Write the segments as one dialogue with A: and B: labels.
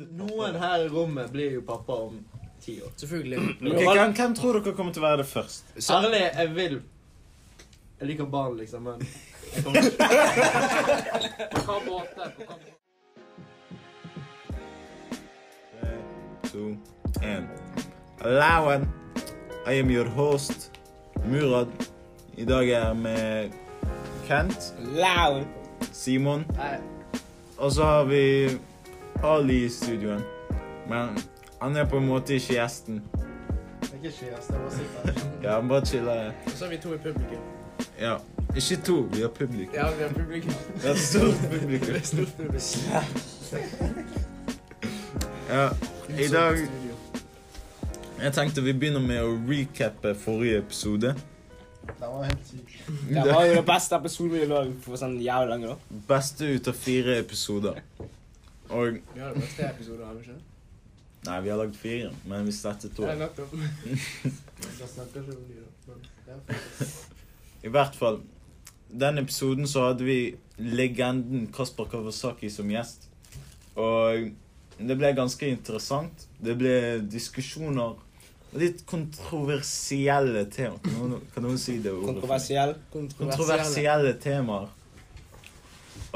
A: Noen her i rommet blir jo pappa om ti år.
B: Selvfølgelig.
C: Ok, hvem, hvem tror dere kommer til å være det først?
A: Så ærlig, jeg vil Jeg liker barn, liksom, men jeg kommer ikke
C: to, en. Lauen. I am your host, Murad. I dag er jeg med Kent,
B: Loud.
C: Simon, og så har vi Ali i studioen. Men han er på en måte ikke gjesten.
A: Ikke kjæreste, jeg bare sitter her.
C: Ja, han bare chiller.
B: Og så har vi to i publikum.
C: Ja. Ikke to, vi har publikum.
B: Ja, vi har publikum.
C: Vi har et stort
B: Det
C: publikum.
B: er stort publikum.
C: Ja. I dag Jeg tenkte vi begynner med å recappe forrige episode.
A: Den var helt syk.
B: Det var jo det beste episoden vi lå for sånn jævlig lenge, da.
C: Beste ut av fire episoder. Og
B: Vi har jo bare tre episoder, har vi ikke?
C: Nei, vi har lagd fire, men vi slettet to.
B: nettopp.
A: Da snakker ikke om de, da. Men det
C: I hvert fall. Den episoden så hadde vi legenden Kasper Kawasaki som gjest. Og det ble ganske interessant. Det ble diskusjoner. Litt kontroversielle temaer. Kan noen, kan noen si det ordet? for meg?
B: Kontroversiell.
C: Kontroversielle temaer.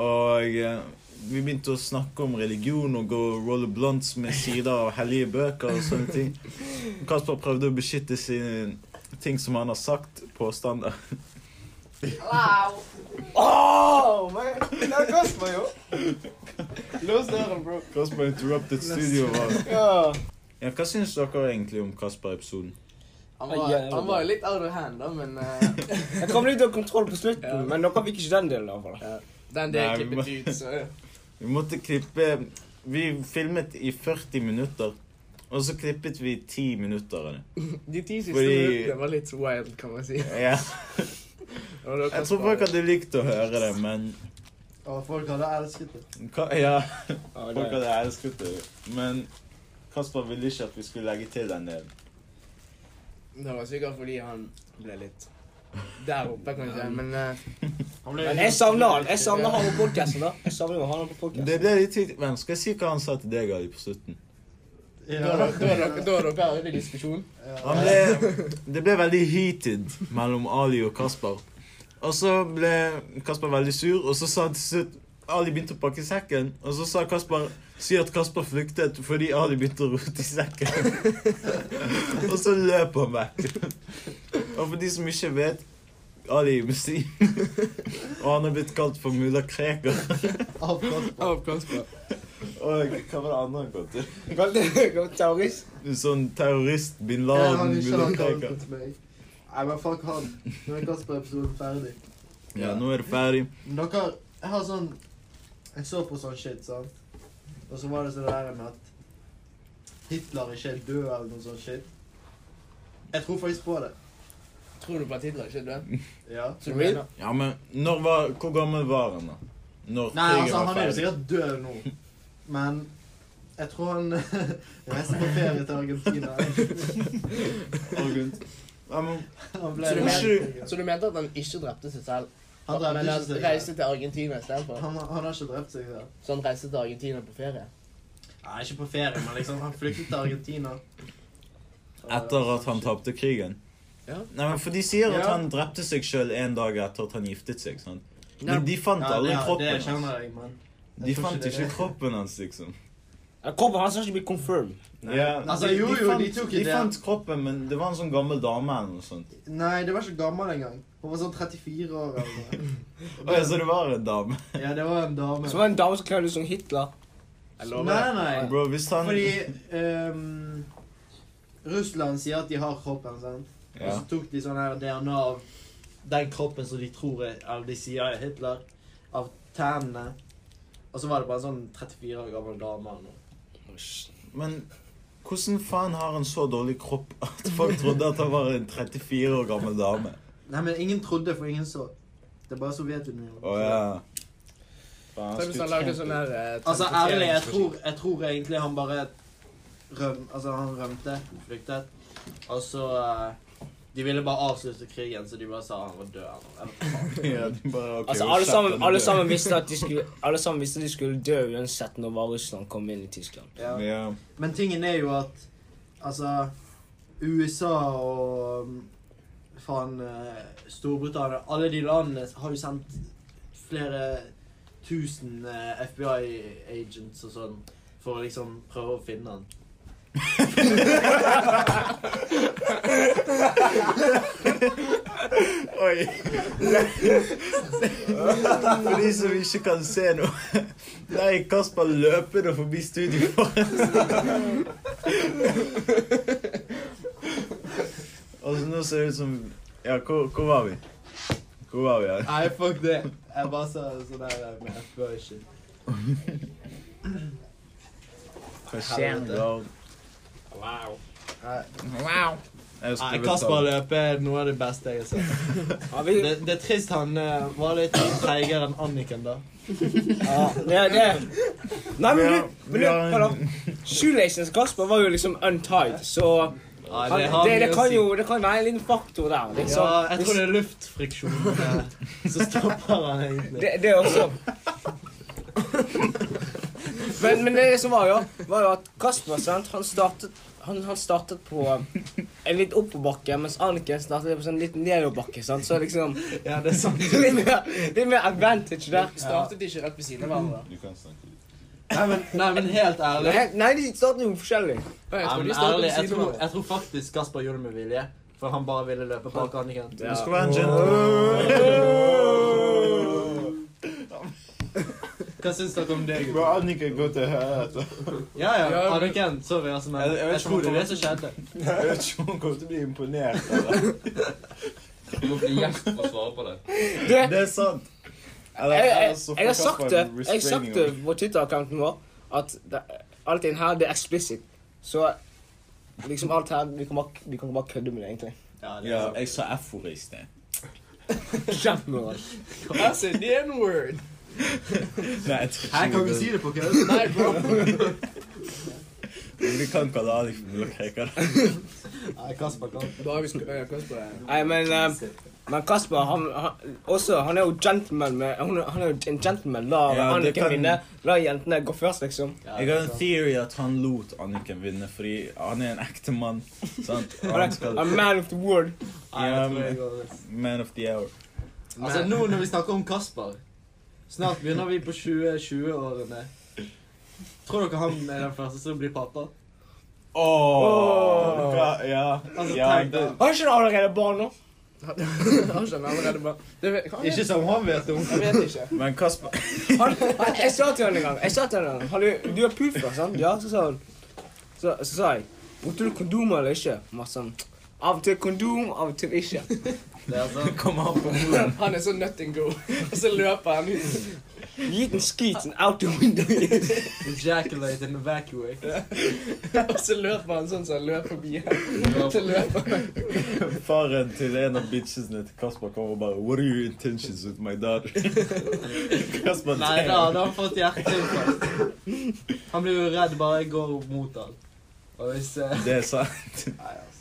C: Og eh, vi begynte å snakke om religion og gå roll blunts med sider av hellige bøker og sånne ting. Kasper prøvde å beskytte sine ting som han har sagt, påstander.
B: Åh, men det er Kasper, jo. Lås døren, bro.
C: Kasper interrupted studioet vårt.
B: Ja.
C: Ja, hva syns dere egentlig om Kasper-episoden?
D: Han var, han var jo litt out of hand, da, men eh,
B: Jeg kom litt av kontroll på slutten,
D: Ja.
B: men dere fikk ikke den delen, i hvert fall.
D: den det
C: Nei,
D: er
C: vi
D: klippet ut, så eh,
C: Vi måtte klippe Vi filmet i 40 minutter, og så klippet vi 10 minutter av det.
D: De ti siste
C: Fordi-
D: minuttene var litt wild, kan man si.
C: Ja.
D: Og da
C: Jeg tror folk hadde likt å høre det, men
A: var- Å, folk hadde elsket det.
C: hva, Ja.
B: Ja, det-
C: Folk hadde elsket det, men Kasper ville ikke at vi skulle legge til den delen.
D: Det var sikkert fordi han ble litt der oppe, kanskje, men eh,
B: Men jeg savner han. Jeg savner han på podcasten da. Jeg savner jo han på podcasten.
C: Det ble litt tid. Men skal jeg si hva han sa til deg, Ali, på slutten?
D: da da- da er dere her i diskusjon.
C: Han ble, det ble veldig heated mellom Ali og Kasper. Og så ble Kasper veldig sur, og så sa han til slutt Ali begynte å pakke sekken, og så sa Kasper Si at Kasper flyktet fordi Ali begynte å rote i sekken. og så løp han vekk. og for de som ikke vet Ali er muslim, og han er blitt kalt for mulla Krekar.
A: Av Kasper.
D: Av Kasper.
C: Og hva var det andre han kalte?
B: Kan det gå terrorist?
C: Sånn terrorist, bin
A: Jeg har
C: Laden,
A: ikke
C: mulla
A: hatt
C: Krekar.
A: elsket meg. Nei, men fuck han. Nå er Kasper-episoden ferdig.
C: Ja, nå er det ferdig.
A: Men dere, jeg har sånn Jeg så på sånn shit, sant? Og så var det sånn der med at Hitler ikke er død eller noe sånt shit. Jeg tror faktisk på det.
D: Tror du på at Hitler ikke er død?
A: Ja.
D: Så du
B: Really?
D: mener-
C: Ja, men når var, hvor gammel var han da? Når
A: Nei,
C: krigen
A: altså,
C: var
A: han er jo
C: ferdig?
A: sikkert død nå. Men jeg tror han reiste på ferie til Argentina.
C: Argent. Ja, men,
A: Han ble
D: Så du
A: landstiger.
D: Så du mente at han ikke drepte seg selv,
A: Han drepte
D: men
A: ikke
D: han
A: seg
D: reiste
A: selv.
D: til Argentina istedenfor?
A: Han, han har ikke drept seg selv.
D: Så han reiste til Argentina på ferie?
A: Nei, ikke på ferie, men liksom, han flyktet til Argentina.
C: etter at han tapte krigen?
D: Ja.
C: Nei, men for de sier at
D: Ja.
C: han drepte seg selv en dag etter at han giftet seg, sant?
D: Nei.
C: Men de fant
A: Ja,
C: aldri
A: det-
C: kroppen
A: Det
C: hans.
A: kjenner jeg, men
C: De
A: Jeg tror
C: fant
A: ikke det
C: ikke
A: er-
C: kroppen hans, liksom.
B: Ja, Kroppen hans har ikke blitt confirmed.
C: Ja,
A: Altså,
C: de-
A: jo,
C: de
A: jo,
C: fant-
A: de tok
C: De
A: ikke det.
C: fant kroppen, men det var en sånn gammel dame eller noe sånt.
A: Nei, det var ikke gammel engang. Hun var sånn 34 år eller noe.
C: Å, ja, så det var en dame.
A: Ja, det var en dame.
B: Så var det en dame som kledde seg som Hitler. Jeg
A: Nei,
B: lover
A: nei,
B: det.
A: nei.
C: Bro, hvis han...
A: Fordi ehm, Russland sier at de har kroppen, sant? Og
C: Ja.
A: så tok de sånn her DNA av den kroppen som de tror er, eller de sier er Hitler, av tennene. Og så var det bare en sånn 34 år gammel dame eller noe.
C: Men hvordan faen har han så dårlig kropp at folk trodde at han var en 34 år gammel dame?
A: Nei, men ingen trodde, for ingen så. Det er bare Sovjetunionen.
C: Å ja. Faen,
D: Tenk hvis han
C: skulle
D: lagde
C: tenkt-
D: sånn her eh,
A: Altså, ærlig, jeg
D: transporteringsmaskin.
A: tror, jeg tror egentlig han bare røm, Altså, han rømte, flyktet, og så eh,
E: De ville bare avslutte krigen, så de bare sa han var død. eller noe. Eller hva faen.
C: Ja, de bare, ok,
F: Altså,
C: hold
F: alle
C: kjeft, han
F: sammen,
C: er
F: alle
C: død.
F: sammen visste at de skulle, alle sammen visste de skulle dø uansett når bare Russland kom inn i Tyskland.
A: Ja.
C: Ja.
A: Men tingen er jo at altså USA og mm, faen eh, Storbritannia Alle de landene har jo sendt flere tusen eh, FBI-agents og sånn for å liksom prøve å finne han.
C: Oi. For de som ikke kan se nå. Nei, Kasper løpende forbi studio Altså, nå ser det ut som Ja, hvor, hvor var vi? Hvor var vi her?
A: Nei, fuck det. Jeg bare sa sånn der eh, med FBI-shit.
C: Hva skjer nå?
A: Nei,
C: Jeg
A: Nei,
C: skulle
A: Kasper
C: betale.
A: løpe er noe av det beste jeg har sett.
F: Ja, vi,
A: Det, det er trist han eh, var litt treigere enn Anniken, da.
F: ja, det, det. Nei, men
C: Ja,
F: du, men
C: vi
F: du,
C: har-
F: hør da. Shoelacen til Kasper var jo liksom untied, så
A: Nei,
F: han,
A: har
F: det,
A: mye
F: det
A: å
F: kan
A: si.
F: jo det kan være en liten faktor der.
A: Ja,
F: Liksom.
A: jeg tror det er luftfriksjon eh, som stopper han egentlig.
F: Det, det også. Men, men det som var jo, var jo at Kasper sant, han, startet, han, han startet på en litt oppoverbakke, mens Anniken startet på sånn litt nedoverbakke. sant? Så liksom
A: Ja, det er sant.
F: Litt mer, litt mer advantage der.
D: Vi startet ikke rett ved siden av hverandre.
C: Du kan snakke litt.
A: Nei, men, nei, men helt ærlig.
F: Nei, nei, de startet jo forskjellig.
D: Jeg
E: Nei,
D: tror
E: men
D: de startet
E: ærlig,
D: ved
E: jeg
D: siden av
E: tror,
D: hverandre.
E: jeg tror faktisk Kasper gjorde det med vilje. For han bare ville løpe bak Anniken.
C: Du skal være en gentleman.
A: Hva syns dere om det?
C: Bro, Annika går til helvete.
A: Ja, ja.
D: Ja, men-
A: Anniken, sorry, altså, men
C: Jeg- jeg vet
A: jeg
C: ikke om
A: tror det
C: han
A: er det som skjedde.
C: Jeg vet ikke om hun kommer til å bli imponert. Eller?
G: Du må bli gjest for å svare på det.
F: Det,
C: Det er sant. Eller,
F: jeg, jeg,
C: ellers så får
F: jeg har
C: altså, Kasper
F: sagt det
C: en
F: jeg har sagt
C: restraining
F: det
C: order.
F: på Twitter-accounten vår at det, alt inn her det er explicit. Så liksom alt her Vi kan bare, vi kan bare kødde med det, egentlig.
A: Ja, det
C: Ja,
A: er sant.
C: jeg sa F-ordet i sted.
F: Kjempemoral.
D: Jeg sier the N-word.
C: Nei, jeg tror
A: Her kan vi si det på kødd.
D: Nei, bro.
C: Vi kan kalle Ali for mullkreker.
A: Nei, Kasper kan.
D: Da har vi skutt Kasper.
F: Nei, men, eh, men Kasper, han, han, også, han er jo gentleman med hun, er- Han er jo en gentleman. La
C: Ja, det
F: Anniken
C: kan-
F: vinne. La jentene gå først, liksom.
C: Jeg har en theory at han lot Anniken vinne fordi han er en ekte mann. Sant? Og
F: Han
C: han
F: er
C: skal
F: a man of the world.
A: Nei,
C: Ja,
A: jeg tror
C: men-
A: jeg går med.
C: Man of the hour.
A: Altså, nå når vi snakker om Kasper Snart begynner vi på 2020-årene. Tror dere han er den første som blir pappa?
C: Åh, hva- Oh. Ja.
A: Altså,
C: ja
A: tenk da.
C: det,
F: Har ikke han allerede barn nå?
D: Han skjønner allerede bare Det vet hva er det?
A: Ikke som han vet om.
D: Jeg vet ikke.
C: men Kasper
F: Han, han, jeg sa til han en gang Jeg sa til han en gang har du, du er puffer, sant? Ja, så sa han Så, så sa jeg Brukte du kondom eller ikke? Han var sånn Av og til kondom, av og til ikke.
A: Det er altså sant.
C: kommer han på moren.
D: Han er så nut and go. Og så løper han ut.
F: Gi den skiten out the window.
A: Ejaculate and evacuate.
D: Og så løper han sånn som han løper forbi her. Så løper han.
C: Faren til en av bitchesene til Kasper kommer og bare What are your intentions with my daughter? Kasper
A: Nei, da hadde han fått hjerteinfarkt. Han blir jo redd bare jeg går mot han. Og hvis eh,
C: Det er sant.
A: Nei, altså.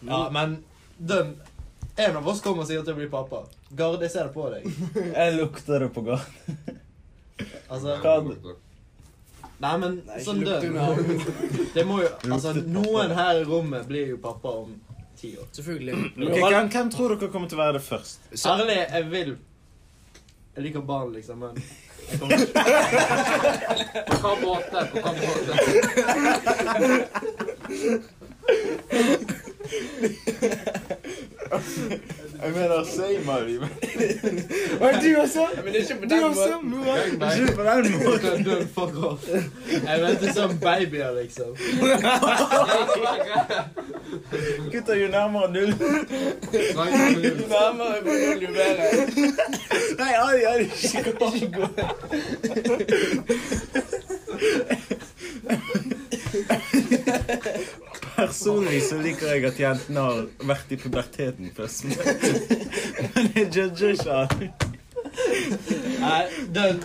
A: Ja, men den En av oss kommer sikkert til å bli pappa. Gard, jeg ser det på deg.
C: Jeg lukter det på gaten.
A: Altså
C: Kan-
A: Nei, men
D: Nei,
A: sånn
D: ikke
A: død
D: lukter unna.
A: Det må jo Altså,
C: Luktet pappa.
A: noen her i rommet blir jo pappa om ti år.
D: Selvfølgelig.
C: Ok, hvem, hvem tror dere kommer til å være det først?
A: Særlig jeg vil Jeg liker barn, liksom, men jeg kommer ikke
G: På hva måte? På hva måte?
C: Jeg mener, si Mari. men
F: Og du også?
D: Men det er ikke på
F: Du sånn.
D: den
F: også?
D: måten.
F: Moa.
C: Ikke på den måten.
A: til å dø. Fuck off. Jeg venter som babyer, liksom.
C: Gutter, jo nærmere null
D: Jo nærmere på null, jo bedre.
C: Nei, Ali, Ali, ikke gå. Ikke gå. Personlig så liker jeg at jentene har vært i puberteten først. Men jeg judger ikke Ali.
A: Nei, den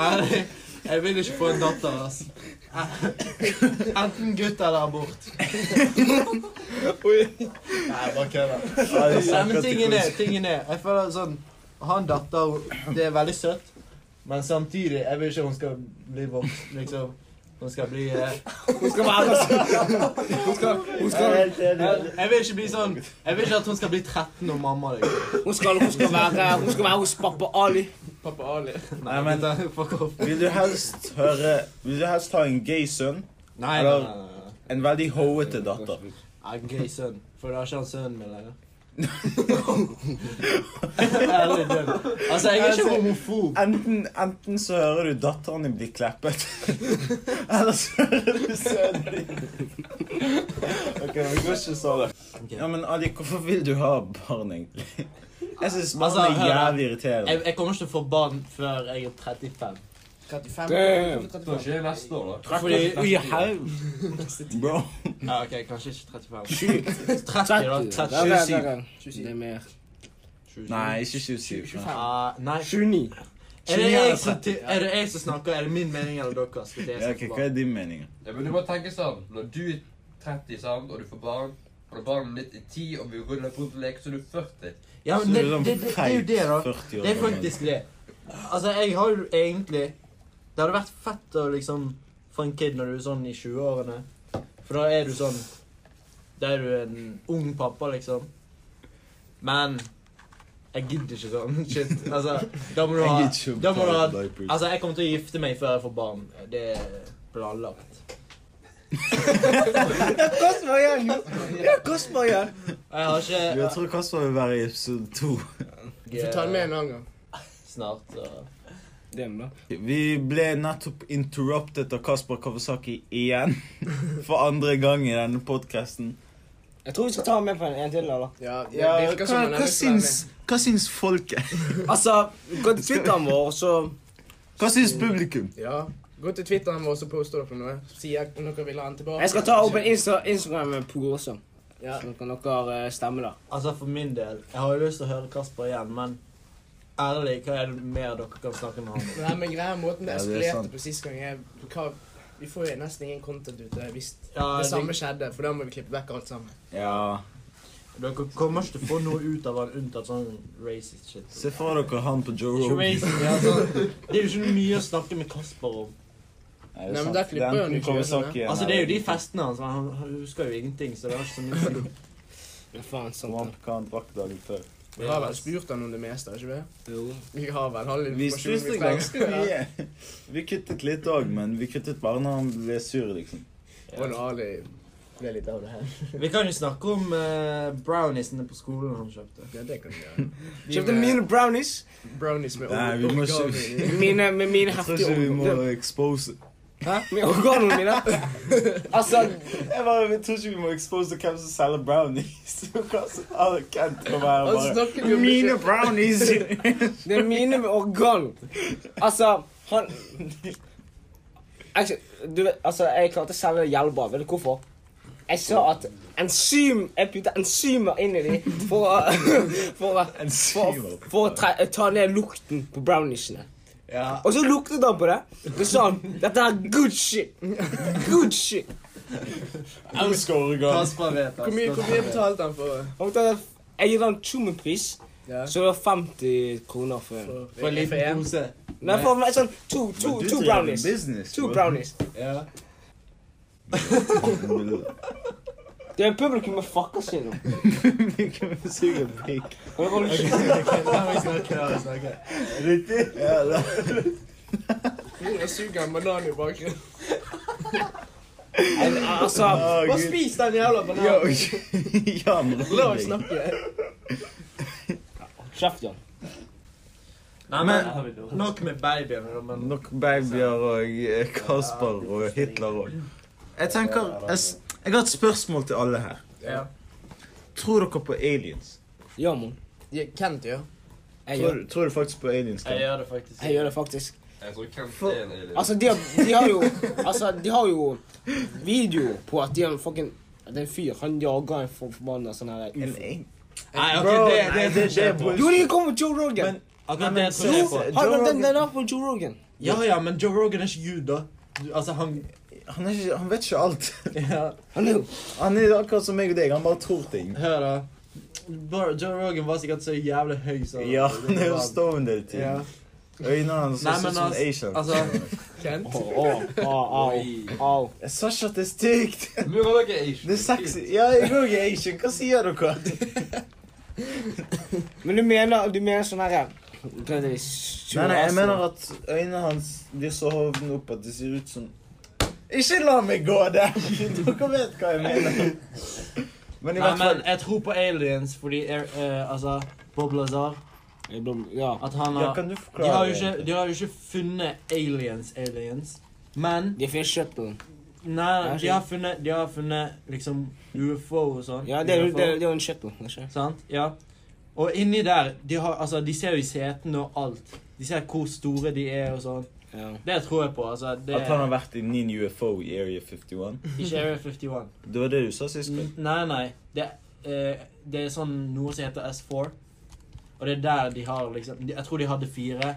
A: Ærlig, jeg vil ikke få en datter, ass. Enten gutt eller abort. Nei, bare kødder. Nei, men tingen er, tingen er Jeg føler sånn Han datter, det er veldig søtt, men samtidig Jeg vil ikke hun skal bli voksen, liksom. Hun skal bli eh,
F: Hun skal være Hun skal, hun skal,
A: jeg, jeg vil ikke bli sånn Jeg vil ikke at hun skal bli 13 og mamma, liksom.
F: hun skal, hun skal, være, hun skal være hos pappa Ali.
D: Pappa Ali.
C: Nei, men
A: da, fuck off.
C: vil du helst høre Vil du helst ha en gay sønn?
A: Nei, nei,
C: Eller-
A: nei. nei.
C: En veldig hoete datter.
A: Ja, en gay sønn. For da er ikke han sønnen min lenger. Ærlig dønn. Altså, jeg er ikke homofob.
C: Enten, enten så hører du datteren din bli kleppet, eller så hører du sønnen din Ok, vi går ikke så langt.
A: Ok.
C: Ja, men Ali, hvorfor vil du ha barn, egentlig? Jeg syns barn
A: Altså,
C: er
A: hør da.
C: jævlig irriterende.
A: Jeg, jeg kommer ikke til å få barn før jeg er 35.
D: 35.
F: Damn.
G: Kanskje det er neste år, da.
A: Fordi
C: Ui, hau. Bro.
A: Ja, OK, kanskje ikke 35. 30, da. 30.
F: Nei, nei, nei, nei. Det er mer.
C: Nei, ikke 27. nei.
A: Ah, nei.
F: 29.
A: Er det, jeg som, er det jeg som snakker? Er det min mening eller deres? Fordi jeg
C: Ja,
A: skal
C: ok,
A: få
C: hva
A: barn.
C: er din mening?
G: Ja, men du må tenke sånn, når du er 30, sant, og du får barn, og når barnet ditt er 10, og vi ruller rundt og leker, så er du 40.
A: Ja, men det,
C: sånn
A: det, det, det er jo det, da.
C: 40 år
A: Det er
C: gammel.
A: faktisk det. Altså, jeg har jo egentlig Det hadde vært fett å liksom få en kid når du er sånn i 20-årene. For da er du sånn Da er du en ung pappa, liksom. Men jeg gidder ikke sånn. Shit. Altså, da må du ha
C: Jeg gidder ikke
A: Da må du ha
C: å bli
A: Altså, jeg kommer til å gifte meg før jeg får barn. Det er planlagt.
F: Kasper igjen! Ja, Kasper igjen!
A: Og jeg har ikke
C: Jeg tror Kasper vil være i episode 2.
D: Du får ta den med en annen gang.
A: snart. Så.
F: Dem, da.
C: Vi ble nettopp interruptet av Kasper Kawasaki igjen. For andre gang i denne podkasten.
F: Jeg tror vi skal ta ham med på en, en til, eller?
D: Ja, det
C: Ja,
D: virker som
C: hva,
D: han er
C: hva,
D: lyst til å være
C: syns, hva syns folket?
F: Altså, gå til Twitteren vår, og så
C: Hva syns publikum?
D: med. Ja. Gå til Twitteren vår, så poster dere noe. Sier om dere vil ha han tilbake.
F: Jeg skal ta opp en Insta Instagram-pool også.
D: Ja.
F: Så kan dere eh, stemme, da.
A: Altså, for min del Jeg har jo lyst til å høre Kasper igjen, men ærlig, hva er det mer dere kan snakke med han om?
D: Nei, men greia er måten det
C: Ja, det er
D: eskalerte
C: sant.
D: på sist gang er hva, Vi får jo nesten ingen content ute hvis
A: Ja,
D: det samme
A: det,
D: skjedde, for da må vi klippe vekk alt sammen.
C: Ja
A: dere kommer ikke til å få noe ut av han unntatt sånn racist shit.
C: Se for dere han på Joe
A: Ikke
C: Rogan.
A: racist, ja, sånn. Det er jo ikke mye å snakke med Kasper om.
C: Nei,
D: Nei, men der klipper han jo ikke
C: Kawasaki igjen,
A: Altså, Det er jo de
C: eller-
A: festene hans, men han han husker jo ingenting. så det er ikke så mye å si.
F: Men faen,
C: Som
F: sant
C: han,
F: det.
C: hva han drakk dagen før.
D: Vi har vel spurt han om det meste, har ikke vi?
F: Jo.
D: Vi har vel halv
C: Vi
D: informasjon
C: spiste ganske mye. Vi kuttet litt òg, men vi kuttet bare når han ble sur, liksom.
D: Og når Ali ble litt av det her.
A: Vi kan jo snakke om eh, browniesene på skolen han kjøpte.
D: Ja, det kan vi gjøre. De
F: Kjøpte
D: med
F: mine brownies
D: brownies med
C: Nei, vi må ikke-
D: origami.
F: mine, med mine
C: Jeg tror
F: heftige
C: ikke vi må
F: organer.
C: expose
F: Hæ? Med organene mine? Altså,
C: Jeg bare, jeg tror ikke vi må expose hvem som selger brownies. Hva som alle kan til å være bare
D: Han Altså, snakker jo om
C: Mine
D: ikke-
C: brownies!
F: det er mine med organ. Altså, han Actually, du vet, altså, jeg klarte å selge det jævlig bra. Vet du hvorfor? Jeg sa at enzym Jeg putta enzymer inn i dem for å For å, for,
C: Enzymer.
F: å- for å tre, eh, ta ned lukten på browniesene.
A: Ja,
F: Og så luktet han på det. Så sa han dette er good shit. Good shit.
C: Elsker oregon.
A: Kasper vet
D: Hvor mye, hvor mye betalte han for? eh?
F: Og da- Jeg gir han tjommepris,
D: Ja.
F: så det var 50 kroner for en.
A: For en liten pose.
F: Nei, for meg sånn to, to,
C: Men du
F: to
C: driver
F: brownies.
C: business,
F: To
C: bro.
F: brownies.
A: Ja.
F: Det er publikum med fucker seg nå.
C: Hvilken musikk er pink?
F: Og det var jo ikke-
A: La meg snakke, la meg snakke.
C: Riktig? Ja, altså, da.
D: Mora suger en banan i bakgrunnen.
F: Al- Altså,
C: Å,
D: Bare
C: Gud.
D: spis den jævla
C: Ja,
D: bananen!
C: ja, men
D: La oss snakke.
F: kjeft, Jan.
A: Nei, men Nok med babyene, da, men
C: Nok babyer og eh, Kasper og Hitler òg. Jeg tenker jeg, s- jeg har et spørsmål til alle her.
D: Ja.
C: Tror dere på aliens?
F: Ja, mon.
D: Ja, Kent, ja.
F: Jeg
C: Tror,
F: gjør,
C: tror du faktisk på aliens?
A: jeg
C: Kan?
A: gjør det faktisk.
F: jeg gjør det faktisk.
G: Jeg tror Kent er en alien.
F: Altså, de har, de har jo Altså, de har jo video på at de har en fucking at en fyr han jager en for- forbanna sånn her
C: En
F: ufo.
C: eng?
A: Nei, ok,
C: Bro,
A: det,
C: nei,
A: det, det,
C: det-
A: det
C: det-
F: Jo, de kom på Joe Rogan.
C: Men-
A: Akkurat
C: Nei,
A: det
C: men
A: tror jeg
C: seriøst,
A: på.
C: Joe
F: Han,
C: Rogan-
F: den, den er på Joe Rogan.
A: Ja, ja, men Joe Rogan er ikke jud, da. Du- Altså, han
C: han, er ikke, han vet ikke alt.
A: Ja.
F: Hallo!
C: Han er akkurat som meg og deg. Han bare tror ting.
A: Hør, da. Bar- Joe Rogan var sikkert så jævlig høy, så
C: Ja, han er jo
A: bare-
C: stående hele
A: Ja.
C: tiden. Øynene hans
A: Nei,
C: ser
A: men
C: ut som en Asian.
A: Altså,
D: Kent?
F: Au, au.
C: Jeg sa ikke at det er stygt.
G: Murer dere er ikke
C: Det er sexy. Ja, jeg òg er Asian. Hva sier dere?
F: Men du mener, du mener sånn herre Nødvendigvis
C: Nei, nei, jeg mener at øynene hans blir så hovne opp at det ser ut som Ikke la meg gå der! Dere vet hva jeg mener. Men
A: nei,
C: i hvert
A: men
C: fall
A: jeg tror på aliens fordi er, eh, Altså, Bob Lazar
F: Ja.
A: At han
C: ja,
A: har
C: Kan du
A: de har,
C: forklare
A: jo
C: det?
A: ikke, de har jo ikke funnet aliens, aliens. Men
F: De finnes kjøtt på den.
A: Nei, de
F: Kanskje.
A: har funnet, de har funnet liksom UFO og sånn.
F: Ja, det er jo
A: UFO,
F: det er jo en kjøtt på den. ikke?
A: Sant? Ja. Og inni der de, har, altså, de ser jo i setene og alt. De ser hvor store de er og sånn.
F: Ja.
A: Det tror jeg på. altså. Det
C: At han
A: er
C: har vært i Nin UFO i Area 51?
A: ikke Area 51.
C: Det var det du sa sist? Kai.
A: N- Nei, nei. Det, eh, det er sånn noe som heter S4. Og det er der de har liksom de- Jeg tror de hadde fire.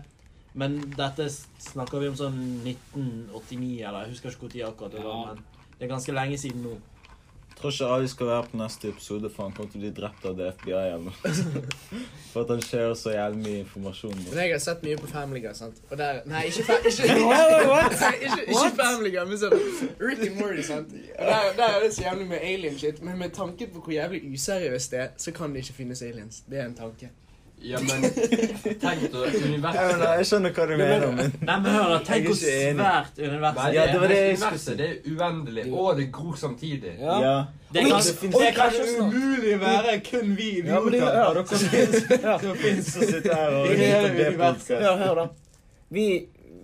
A: Men dette s- snakker vi om sånn 1989, eller jeg husker ikke når akkurat det var.
F: Ja.
A: Men det er ganske lenge siden nå.
C: Jeg tror ikke Ali skal være på neste episode, for han kommer til å bli drept av det FBI eller noe. For at han skjer så jævlig mye informasjon.
D: Men jeg har sett mye på Family Guy, sant? Og der Nei, ikke fa ikke, Nei, ikke, ikke Family Guy, men sånn Rick and Morty, sant? Og der, der er det så jævlig med alien shit, men med tanke på hvor jævlig useriøst det er, så kan det ikke finnes aliens. Det er en tanke.
G: Ja, men tenk da,
C: Jeg,
G: universet
C: mener, jeg skjønner hva du mener, men
A: Nei, men hør da, tenk
C: Jeg er
A: hvor
C: ikke enig.
A: svært
G: Nei,
A: universet
C: Ja,
A: er.
C: det var det jeg skulle si.
G: universet det er uendelig, og det gror samtidig.
F: Ja.
C: ja.
A: Det
F: Oi,
A: kan,
C: det finnes-
A: det sånn. kan ikke umulig være kun vi
C: Ja, men det
A: idioter.
C: er dere som finnes som sitter her og
A: Det er
C: lytter på det
A: universet.
C: podcast.
F: Hør, hør, da. Vi,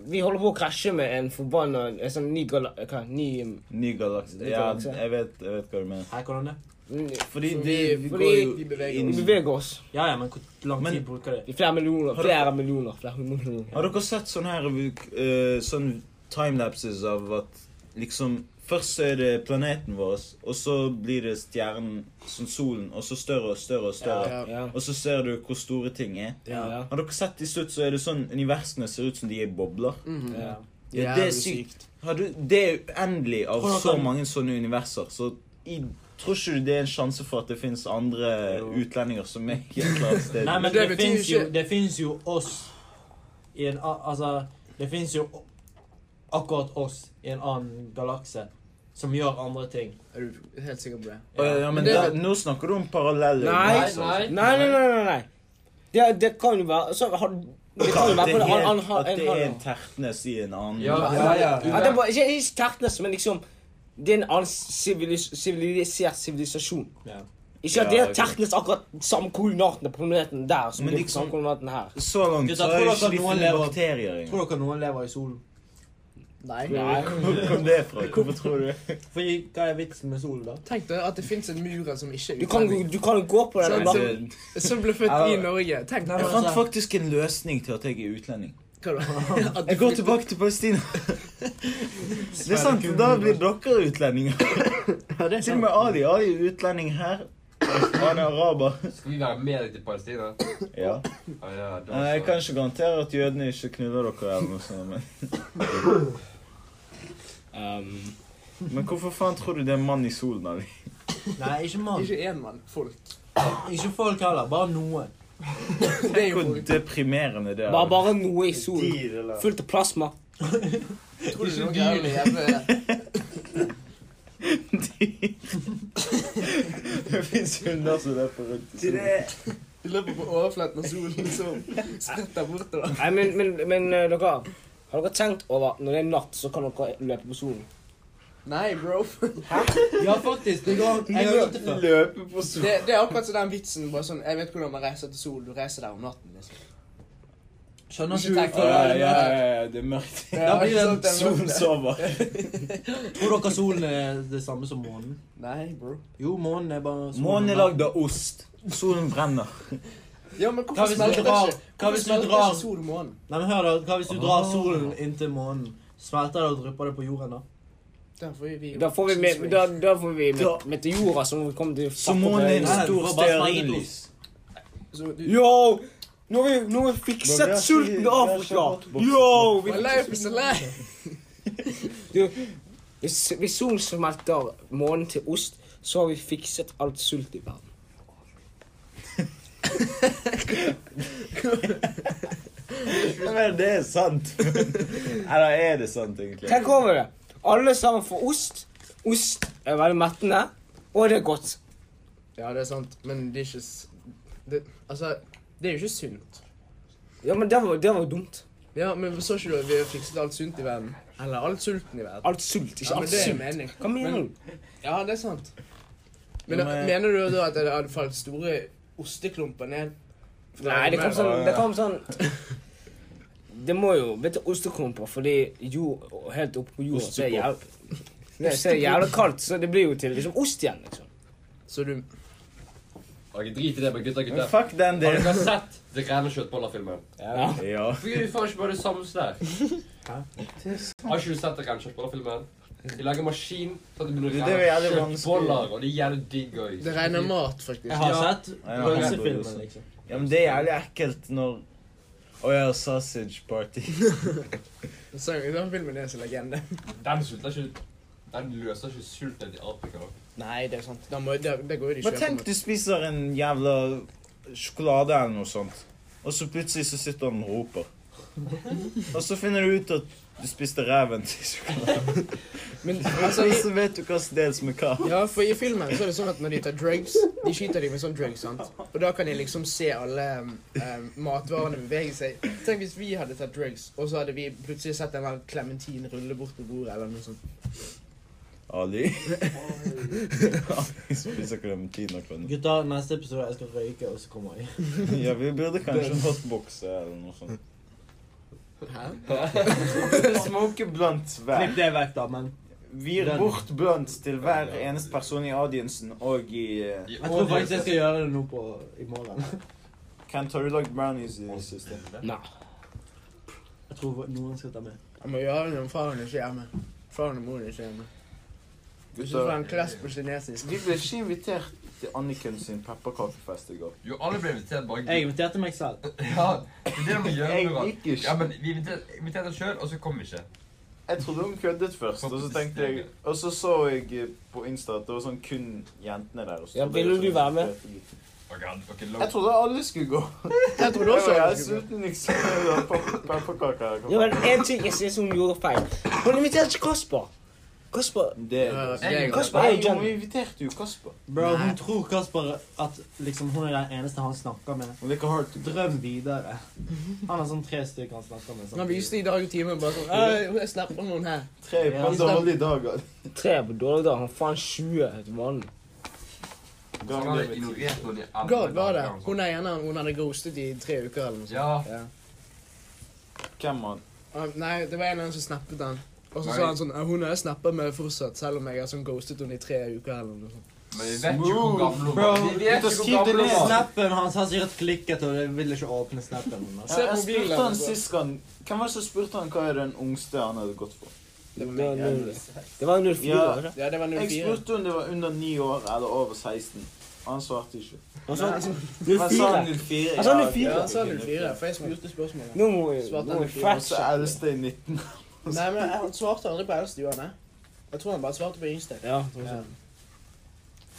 F: vi holder på å krasje med en forbanna en sånn ny gala... Hva? Ny um,
C: Ny galakse.
F: Ny
C: Ja,
F: galakse.
C: jeg vet, jeg vet hva du mener.
A: Her hvordan det?
F: ny-
C: Fordi
D: Så
C: vi,
D: vi-
C: vi
F: fordi
C: går jo
D: vi beveger
F: Vi
C: inn
F: beveger oss.
A: Ja, ja, men hvor lang
C: Men-
A: tid bruker det?
F: I flere millioner.
C: Har du-
F: Flere millioner. Flere hundre millioner.
C: Har dere sett sånne her eh, sånn timelapses av at liksom Først så er det planeten vår, og så blir det stjernen, sånn solen, og så større og større og større.
D: Ja.
F: Ja.
C: Og så ser du hvor store ting er.
F: Ja. ja.
C: Har dere sett til slutt så er det sånn universene ser ut som de er bobler?
D: Mhm.
F: ja.
C: Ja, det er sykt. Har du, det er uendelig av
A: Tror dere-
C: så mange sånne universer, så jeg tror ikke det er en sjanse for at det finnes andre utlendinger som er et eller annet sted.
A: Nei, men
D: Men
A: det
D: det betyr
A: finnes jo,
D: ikke-
A: det finnes jo oss i en a- Altså, det finnes jo akkurat oss i en annen galakse som gjør andre ting.
D: Er du helt sikker på det?
C: Å, ja, men
D: Men det-
C: da, nå snakker du om parallelle
F: Nei.
G: nei,
F: Nei, nei, nei, nei. nei. Det, det kan jo være så, har, Det kan jo
C: At
F: være
C: det
F: på det. Han,
C: er,
F: han, har-
C: at det
F: han,
C: er
F: har-
C: en tertnes i en annen
G: Ja,
A: Ja, ja.
F: Ja, det er bare, ikke, ikke tertnes, men liksom Det er en annen sivilis, sivilisert sivilisasjon.
A: Ja.
F: Ikke at
C: Ja,
F: det er
C: ok.
F: tertnes akkurat samme koordinatene på planeten der som
C: Men
F: det er på
C: liksom-
F: samme koordinaten her.
C: Så langt
A: Gutta,
C: så har
A: tror
C: jeg
A: dere
C: ikke
A: at
C: de
A: noen
C: funnet
A: lever-
C: bakterier engang.
A: Tror dere noen lever i solen?
D: Nei.
C: Hvor kom det fra? Hvorfor tror du det?
A: Fordi, hva er vitsen med solen, da?
D: Tenk deg at det finnes en murer som ikke er
F: Du kan,
D: utlending,
F: du kan jo gå på den
D: Sånn,
F: og bare
D: sånn. som ble født i
C: Ja.
D: Norge. Tenk deg
A: Nei,
C: Jeg
A: men-
D: hva
C: fant faktisk en løsning til at jeg er utlending.
D: da? At du
C: Jeg går
D: flytter-
C: tilbake til Palestina. Det er sant, da blir dere utlendinger. Til og med Ali. Ali er utlending her. Han er araber.
G: Skal vi være med deg til Palestina?
C: Ja.
G: Ah, ja, da
C: Nei, Jeg
G: så.
C: kan ikke garantere at jødene ikke knuller dere eller noe sånt. Men,
F: um,
C: men hvorfor faen tror du det er en mann i solen, Ali?
A: Nei, ikke mann.
D: Ikke én mann. Folk.
A: Ikke folk heller. Bare noen.
D: Det er jo
C: Hvor
D: folk.
C: deprimerende det er.
F: bare, bare noe i solen. Fullt av plasma.
D: Tror du
G: Ikke
D: noen
G: dyr.
D: er jævlig-
C: Det fins hunder som løper rundt i solen.
D: De løper på overflaten av solen, liksom. Spretter bortover.
F: Nei, men, men, men eh, dere Har dere tenkt over at når det er natt, så kan dere løpe på solen?
D: Nei, bro.
A: Ja, faktisk. Det går, jeg har gjort det før.
C: Løpe på solen.
D: Det, det er akkurat sånn den vitsen. bare sånn, Jeg vet hvordan man reiser til sol. Du reiser der om natten. liksom.
A: Skjønner
D: Ikke
A: ikke
D: tenk
A: tenkt
D: på det.
A: det.
C: Ja, ja, ja, ja, det er mørkt.
A: Da blir det
D: Sånn,
C: Solen sover.
A: Tror dere solen er det samme som månen?
D: Nei, bro.
A: Jo, månen er bare solen.
C: Månen er lagd av ost. Solen brenner.
D: Ja, men hvorfor
A: Hva hvis du
D: smelter
A: drar- hva
D: ikke Hvorfor
A: hvis du
D: smelter
A: drar-
D: ikke sol og månen?
A: Nei, men hør da, Hva hvis du drar
C: Ah.
A: solen inntil månen? Smelter det og drypper det på jorden, da?
D: Da får vi
F: Da får vi, med, da, da får vi
C: Da-
F: met, meteorer som kommer til å
C: Så
F: fucke opp
C: månen er
F: hele-
C: en
A: Nei,
C: stor
A: det var bare
C: stearinlys.
D: Så du-
F: Yo! Nå har vi, nå har vi fikset sulten i Afrika! Yo!
D: My
F: Vi,
D: life is a lie.
F: du, Hvis, hvis solen smelter månen til ost, så har vi fikset alt sult i verden.
C: Men det er sant. Eller er det sant, egentlig?
F: Tenk over det. Alle sammen får ost. Ost er veldig mettende, og det er godt.
D: Ja, det er sant, men det er ikke s- det, Altså, det er jo ikke sunt.
F: Ja, men det var, det var dumt.
D: Ja, men så ikke du at vi har fikset alt sunt i verden? Eller alt sulten i verden?
F: Alt sult, ikke
D: Ja, men
F: alt
D: det er
F: sult.
D: mening.
F: Hva mener
D: Men-
F: du?
D: Ja, det er sant. Men,
C: Ja, men-
D: mener du da at det hadde falt store osteklumper ned?
F: Nei, det kom sånn,
C: Ja, ja.
F: det kom sånn Det må jo bli til osteklumper, fordi jord Helt oppe på jorda så er jævla, Nei, så er det jævla kaldt, så det blir jo til liksom ost igjen, liksom.
D: Så du
G: Ok, drit i det, men gutter,
C: Men
G: gutter.
C: fuck den
G: Har
C: delen.
G: dere sett Det rene kjøttboller-filmen?
F: Ja.
C: Ja.
G: Hvorfor gjør vi faen ikke bare det samme der? Har ikke du sett Det rene kjøttboller-filmen? De lager maskin så at det
C: Det
G: begynner
C: er
G: å
C: det
G: renne
C: jævlig vanskelig.
G: kjøttboller, og det er jævlig digg òg.
D: Det regner mat, faktisk.
A: Jeg har
D: Ja.
A: sett
C: Ja,
A: pølsefilmen,
C: ja.
A: liksom.
C: Ja, men det er jævlig ekkelt når Å ja, sausage party.
D: Så, den filmen er en legende.
G: Den sulter ikke Den løser ikke sulten til Afrika. da.
D: Nei, det er sant. Da må, det, det går jo ikke
C: Men tenk du spiser en jævla sjokolade eller noe sånt, og så plutselig så sitter han og roper. Og så finner du ut at du spiste ræven til sjokoladen.
D: Men altså,
C: Og så vet du hva som deles med hva.
D: Ja, for i filmen så er det sånn at når de tar drugs, de skyter de med sånn drugs, sant? Og da kan de liksom se alle um, um, matvarene bevege seg. Tenk hvis vi hadde tatt drugs, og så hadde vi plutselig sett en eller annen klementin rulle bort på bordet eller noe sånt.
C: Ali. Ali spiser klementiner for noe.
A: Gutta, neste episode jeg skal røyke, og så kommer jeg.
C: Ja, vi burde kanskje en hotbox eller noe sånt.
D: Hæ?
C: Smoke blunt
A: Klipp det vekk, da, men
C: Vir bort blunt til hver eneste person i audiencen og i eh,
G: De
A: jeg tror faktisk jeg skal gjøre det nå på, i morgen.
C: Kent, har du lagd brownies i det siste?
F: Nei.
A: Jeg tror noen skal ta med.
D: Jeg må gjøre det når faren ikke er hjemme. Faren og moren er ikke hjemme. Hvis du får en klass på kinesisk.
C: Vi ble ikke invitert til Anniken sin pepperkakefest i går.
G: Jo, alle ble invitert bare
A: Jeg inviterte meg selv.
G: Ja, det er det du må gjøre.
C: Jeg
G: Murat.
C: gikk ikke.
G: Ja, men vi inviterte, inviterte oss sjøl, og så kom vi ikke.
C: Jeg trodde hun køddet først, og så tenkte jeg Og så så jeg eh, på Insta at det var sånn kun jentene der. og så
F: Ja,
C: trodde jeg
F: ville
C: sånn-
F: du være med?
G: Ok, han- ok, lov.
C: Jeg trodde alle skulle gå.
D: Jeg trodde
C: Jeg
D: også
C: var
D: jeg
C: helt
D: skulle
C: sulten, liksom. Jeg var pe- Pepperkaker.
F: Ja, men en ting jeg synes hun gjorde feil. Hun inviterte ikke Kasper. Kasper
C: Det
D: Ja,
C: er
D: det er godt.
F: Kasper er jo
C: Nei, hun
F: gentleman.
C: inviterte jo Kasper.
A: Bro, hun tror Kasper at liksom, hun er den eneste han snakker med.
C: Hun liker hard to
A: Drøm videre. Han har sånn tre stykker han snakker med.
D: Han
A: samtidig.
D: viste i dag i timen bare sånn «Ei, Jeg snapper noen her.
C: Tre på en dårlig dag. altså.
F: Tre på dårlig dag. Han faen 20 til vanlig.
C: Gang
G: Han
C: det
G: hadde
C: med ti.
G: ignorert noen i alle
D: Gard var det.
G: dager, altså.
D: Hun er ene hun hadde ghostet i tre uker eller noe sånt.
G: Ja,
C: Hvem han?
D: Ah, Nei, det var en eller annen som snappet han. Og så
G: Nei.
D: sa han sånn «Ah, Hun har jeg snappet med fortsatt, selv om jeg har sånn ghostet henne i tre uker eller noe sånt.
G: men vi vet jo hvor gammel hun
A: Bro,
G: var. Vi vet
C: ut og
G: ikke
C: skriv
G: hvor
C: det
G: gammel hun
C: ned.
G: var.
A: Snappen hans har sikkert klikket, og jeg vil ikke åpne snappen hans.
D: Se
C: Jeg
D: mobilen,
C: spurte han
D: altså.
C: sist gang Hvem var det som spurte han hva er den yngste han hadde gått for?
D: Det var
F: Det var
D: meg.
F: null. Det var 04,
C: Ja.
F: var det?
D: Ja, det var
C: Jeg
D: 04.
C: spurte om det var under 9 år eller over 16. Han svarte ikke.
F: Han sa
C: Men sa han
F: 04.
C: 04?
F: Han sa
C: Ja,
F: 04.
D: Ja, han sa
C: ok,
D: 04, for jeg spurte spørsmålet.
F: Nå må vi
D: Svarte
F: nå må vi
D: 04,
F: fact
C: Og så
F: check.
C: eldste i 19.
D: Nei, men han svarte aldri på eldste Johanne. Jeg tror han bare svarte på yngste.
F: Ja, sånn
D: Ja.
F: sånn.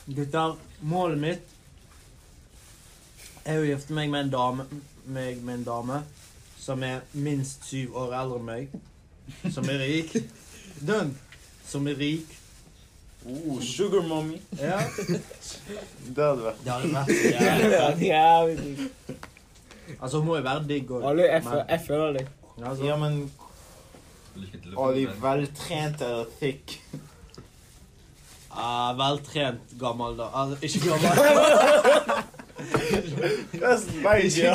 A: Gutter, målet mitt er å gifte meg med en dame, meg med en dame som er minst syv år eldre enn meg. Som er rik. Dønn. Som er rik.
C: Oh, sugar mommy.
A: Ja.
C: Det hadde vært
A: Det hadde vært så jævlig.
F: Jævlig digg.
A: Altså, hun må jo være digg og
F: Alle, jeg fø- jeg føler deg.
A: Men, altså,
C: Ja, men
G: Lykke til.
C: Var de veltrente eller thick?
A: ah, veltrent gammel, da. Altså, ikke gammel.
C: Ikke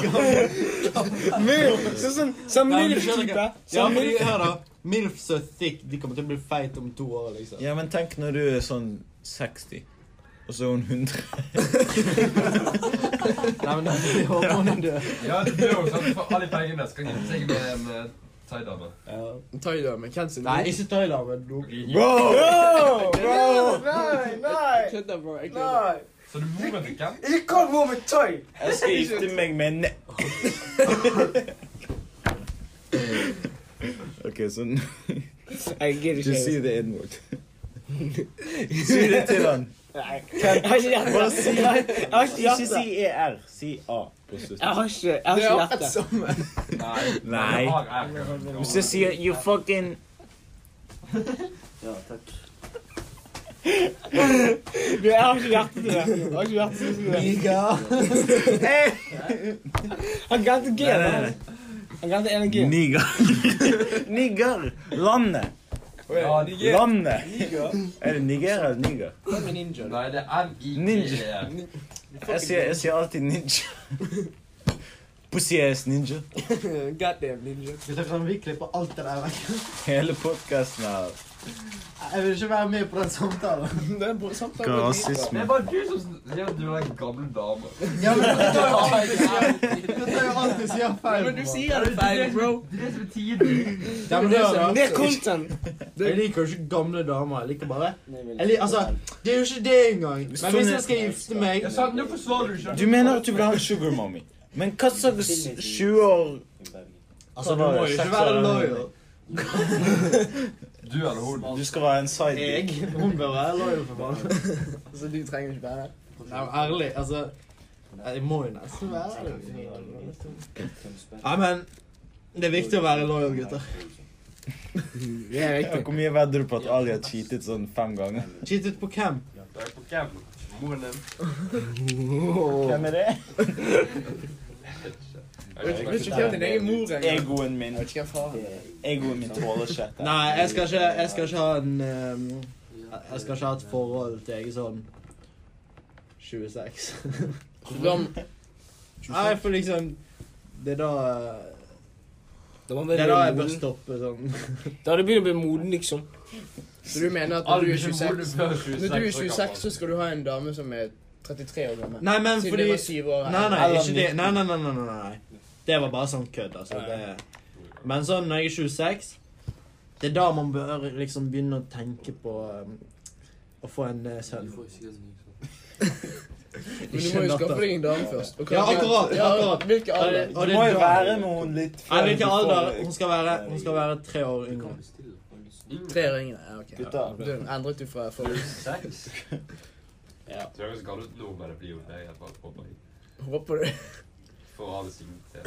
C: gammel.
F: Sånn sånn, sånn
A: Nei, men du skjønner
F: milf-type.
A: Ja,
F: Sånn
A: fordi,
F: milf.
A: hør da. Milf så thick, de kommer til å bli feit om to år, liksom.
C: Ja, men tenk når du er sånn 60, og så er hun 100.
A: Nei, men jeg håper hun er død.
G: Ja, det er jo sånn for alle pengene skal gifte seg med en eh, thaidame.
D: Taida med Ken sin.
A: Nei, ikke Thailand, men do-
F: Bro!
B: Bro! Nei,
D: Jeg
B: nei,
D: kødder, bro. Jeg kødder.
B: nei!
G: Så du moren til hvem?
B: Ikke kall mor med tøy!
C: Jeg skal gifte meg med en OK, så
F: Jeg gidder
C: Just
F: ikke.
C: see the inward. Si det til han.
F: Nei, jeg har ikke gjett
C: Bare
F: det.
C: si-
F: Jeg har ikke
C: Ikke
F: gjett
C: si
F: det.
C: ER, si A på slutten.
F: Jeg har ikke jeg har
D: Det er
F: ikke
D: akkurat
F: gjett det.
D: samme.
G: Nei.
C: Nei.
G: Jeg har R.
C: Hvis jeg sier you fucking
A: Ja, takk.
F: Du, Jeg har ikke gjett det. Jeg har ikke gjett det.
C: hey!
F: Han glemte G.
C: Nei, nei,
F: da. Han glemte en G.
C: Niger. Niger. Landet.
G: Ja, de gir-
C: Landet. Er det Niger eller Niger?
D: Hvem er ninja?
G: Nei, det er
C: Ninja.
G: N-I-G-E.
C: Jeg sier, jeg sier alltid ninja. Pussy ass ninja.
D: Goddamn ninja.
A: Hvis dere kan vi klippe alt det der vekk
C: Hele podkasten her.
A: Jeg vil ikke være med på den samtalen.
D: Det er en bra
C: Hva er
D: samtale.
G: Det er
C: rasisme?
G: bare du som sier at du er en gammel dame.
A: Ja, men det tar jo alltid Det tar jo alltid sier feil.
D: Men du
A: på.
D: sier det feil, bro.
G: Det er det som er tiden.
A: Ja, men hør, da.
F: Det er content.
A: Jeg liker jo ikke gamle damer. Jeg liker bare jeg liker, Altså, det er jo ikke det engang. Men hvis jeg skal gifte meg
G: Jeg sa, nå forsvarer du ikke.
C: Du mener at du vil ha en sugar mommy, men hva slags 20 år
A: Altså, du må jo ikke være loyal.
G: Du eller hun.
C: Du skal være en side
A: Hun bør være loyal, for faen.
D: Så Altså, du trenger ikke være her.
A: Nei, men ærlig, altså Jeg må jo nesten være
C: Sånn
A: det. Nei, men det er viktig å være loyal, gutter.
F: Det er riktig.
C: Hvor mye vedder du på at Ali har cheatet sånn fem ganger?
A: Cheat ut på camp.
G: Det er på hvem? Moren din.
C: Hvem er det?
G: Jeg
D: Jeg
G: vet
D: vet ikke
G: ikke.
D: hvem din egen mor er. Jeg
C: Egoen min.
D: vet ikke hvem faren er.
C: Egoen min tåler ikke dette.
A: Nei, jeg skal ikke, jeg skal ikke ha en ehm, Jeg skal ikke ha et forhold til jeg er sånn 26. Nei, for liksom Det er da
F: Da må man
A: Det
F: bli
A: er da jeg bør
F: moden.
A: stoppe sånn.
F: Da har du begynt å bli moden, liksom.
D: Så du mener at når du er 26 Når du er 26, så skal du ha en dame som er 33 år gammel?
A: Nei, men
D: Siden det
A: fordi
D: var 7 år.
A: Nei, nei, ikke det. Nei, nei, nei, nei, nei, nei. Det var bare sånn kødd, altså. Det. Men sånn når jeg er 26, det er da man bør liksom begynne å tenke på um, å få en eh, sønn.
D: Men du må jo skaffe deg en dame først. Og hva-
A: Ja, akkurat,
D: Ja,
A: akkurat.
D: Hvilken alder?
A: Og
C: Du
A: det
C: må
A: er
C: jo
A: da-
C: være med henne litt
A: Nei,
C: du
A: hvilken
C: får-
A: alder? Hun skal være, hun skal være tre år yngre.
D: Tre år yngre. Ja, ok.
C: Gutta.
D: Du endret du fra forrige.
G: Ja. Du høres gammel ut nå, men det blir jo det. Jeg bare håper jeg.
D: Håper du
G: For å ha det sin til.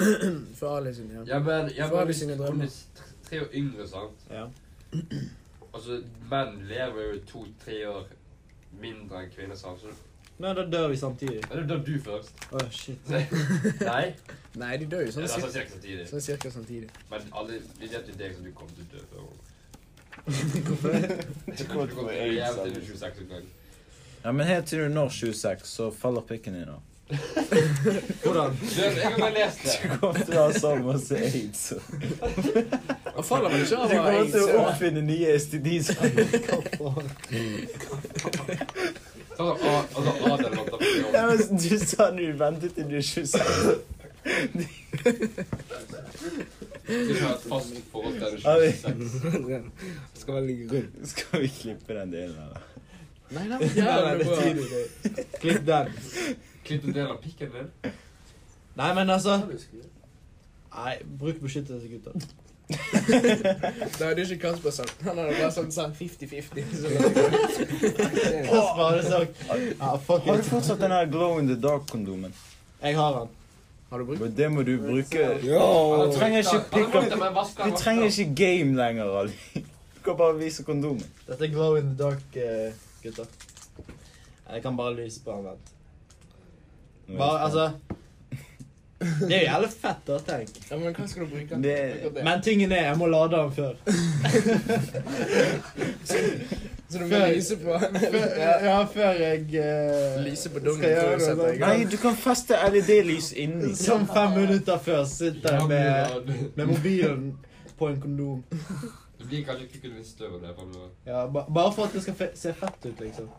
D: For Ali sin, ja.
G: Ja, men, ja,
D: Hva er
G: men
D: det
G: hvis
D: sine
G: hun
D: drømmer?
G: er tre- tre år yngre, sant?
A: Ja.
G: Altså, menn lever jo to-tre år mindre enn kvinner, sant? Så
A: Nei, da dør vi samtidig.
G: er det da du først?
A: Å, shit.
G: Nei?
D: Nei, de dør jo
G: Det
D: sånn
G: er sånn
D: cirka,
G: cirka samtidig.
D: sånn cirka samtidig.
G: Men alle, vi vet jo deg som du kommer til å dø før.
C: Du
G: Du
C: kommer
G: kommer
C: til
G: til
C: å få
G: å
C: aids
G: leve
C: av
G: til du er
C: det.
G: 26 en gang.
C: Ja, men helt til du når 26, så faller pikken din av.
A: Hvordan?
G: Du, jeg har bare lest det.
C: Du kommer til å ha så masse aids. Du
D: Og faller man ikke av å ha
C: kommer
D: aids?
C: til å
D: eller?
C: oppfinne nye STDs.
G: Sånn, ah, altså, Adel vant opp i
C: Ja,
G: år.
C: men Du sa du ventet til du er 26.
G: Du har et fast forhold til det
C: Ali.
G: 26.
F: Skal være litt rund.
C: Skal vi klippe den delen, eller?
D: Nei, nei, men jævla bra.
A: Klipp den.
G: Klipp en del av pikken din.
A: Nei, men altså Nei, bruk beskyttelse, gutter.
D: Det hadde ikke Kasper sagt. Han hadde bare sånn sagt 50-50. så-
A: Kasper hadde sagt Ja, fuck
C: Har du
A: it.
C: fortsatt den her nou glow in the dark-kondomen?
A: Jeg har den.
D: Har du brukt
C: Men Det må du bruke.
F: Yo!
C: Du trenger ikke pick up Du trenger
G: ikke
C: ikke game lenger, Ali. Du kan bare vise kondomen.
A: Dette er glow in the dark, eh, gutter. Jeg kan bare lyse på den, vent. Bare, altså Det er jo jævlig fett, da, tenk.
D: Ja, men hva skal du bruke den
C: Det-
D: Akkurat det.
A: Men tingen er, jeg må lade den før.
D: Så du må lyse på
A: ja, før jeg eh,
D: Lyse på dongen
A: skal
D: før
A: gjøre
D: du setter
A: noe.
D: deg i
C: Nei, du kan feste LED-lys inni.
A: Som fem minutter før sitter jeg med, med mobilen på en kondom.
G: Du blir kanskje ikke kun litt større det fremover.
A: Ja, ba, bare for at det skal fe se fett ut, liksom.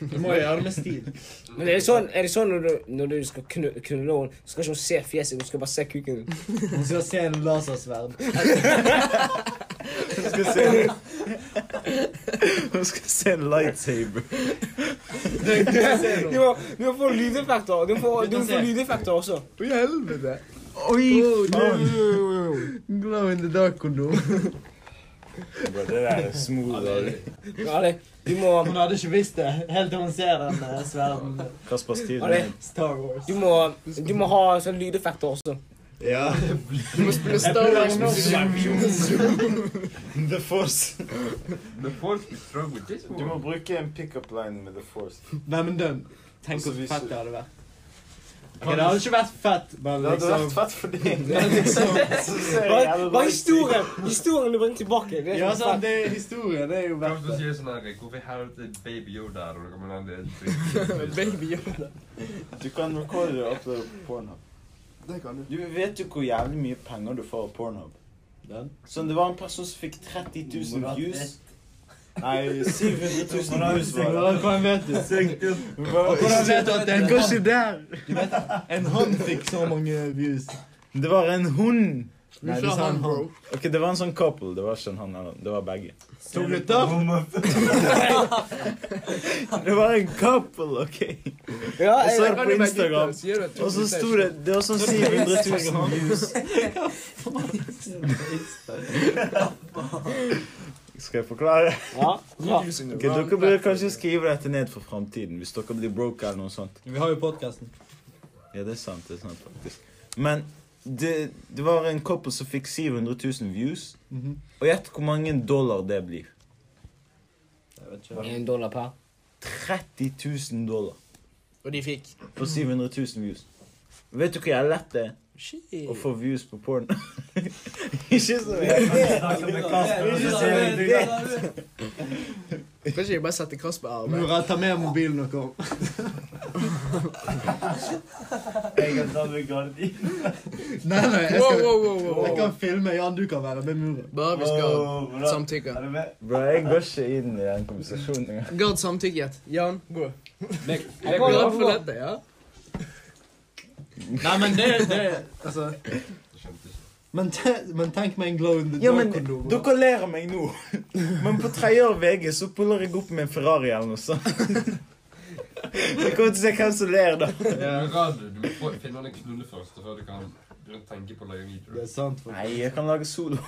A: Du må jo gjøre det med stil.
F: Men er det sånn, er det sånn når, du, når du skal knu- knulle henne, så skal ikke hun se fjeset, hun skal bare se kuken din.
A: Hun skal se en lasersverd.
C: Hun skal se Hun skal se en lightsaber.
F: Du må, du må få lydeffekter. Du må få, du må få lydeffekter også.
D: Å, helvete!
C: Oh, Oi, faen!
A: Glow in the dark-kondom.
C: Bro, det der er smooth. Ali.
F: Men Ali, du må,
A: Hun hadde ikke visst det helt til hun ser den eh, sverden.
C: Kaspers tid.
F: Ali,
A: Star Wars.
F: du må, du må ha sånn lydeffekter også.
C: Ja.
D: Du må spille Star Wars
C: The Force.
G: The force is strong with this
B: Du må
G: one.
B: bruke en pickup line med The Force.
A: Nei, men den. Tenk
B: Altså,
A: hvor
B: hvis-
A: fett det hadde vært. Ok, det hadde ikke vært fett, men
B: Det hadde
A: liksom
B: vært fett for deg.
F: Hva hva er historien? Historien du bringer tilbake. Det er
A: Ja,
F: sånn
A: sant,
F: fett.
A: det er historie. Det er jo
G: Kan
A: verdt
G: du
A: det.
G: si sånn her, hvorfor i helvete er Baby Yoda her? Og da kan man lande
D: Baby Yoda.
B: Du kan recorde det og uploade på Pornhub.
E: Det kan du.
C: Du vet jo hvor jævlig mye penger du får av Pornhub.
A: Den?
C: Sånn, det var en person som fikk 30 000 views. Nei, 700 000 views var det.
A: Hvordan vet du?
C: Hva-
A: Hvordan vet du at det er en hånd?
C: der.
A: En hånd fikk så mange views.
C: Det var en hund.
A: Nei, du sa en hånd.
C: Ok, det var en sånn couple. Det var ikke en han eller Det var begge.
A: To gutter?
C: Det var en couple, ok.
F: Ja,
C: Og så
F: jeg,
C: er det på Instagram. Og så sto det Det var sånn 700 000 views. Skal jeg forklare?
F: ja, ja.
C: Ok, Dere burde kanskje skrive dette ned for framtiden, hvis dere blir broke eller noe sånt.
A: Vi har jo podkasten.
C: Ja, det er sant. det er sant faktisk. Men det, det var en couple som fikk 700 000 views.
A: Mhm.
C: Og gjett hvor mange dollar det blir.
F: En dollar per.
C: 30 000 dollar
D: Og de fikk.
C: for 700 000 views. Vet du hvor jævlig lett det er å få views på porn? Ikke så
D: Kanskje jeg bare setter Kasper her. men-
A: Nora, ta med mobilen og kom. Nei, nei, jeg,
D: Wow,
A: skal,
D: wow, wow, wow,
A: jeg
D: wow.
A: kan filme. Jan, du kan være med Muren.
D: Bare hvis Gard samtykker.
C: Bro, jeg går ikke inn i den konversasjonen engang.
D: Gard samtykket. Jan, gå. Jeg er
F: går,
D: glad
F: jeg
D: for
F: går.
D: dette, ja.
A: Nei, men det, det Altså men, te, men tenk meg en glow in the
C: Ja, men
A: dark-kondom.
C: dere ler av meg nå. Men på tredje år VG så puller jeg opp med en Ferrari eller noe sånt. Jeg kommer til å se hvem som ler, da.
G: Radio, du må få- finne den knulle først, før du kan begynne å tenke på å lage
A: Det
G: video.
A: er sant. For.
C: Nei, jeg kan lage solo.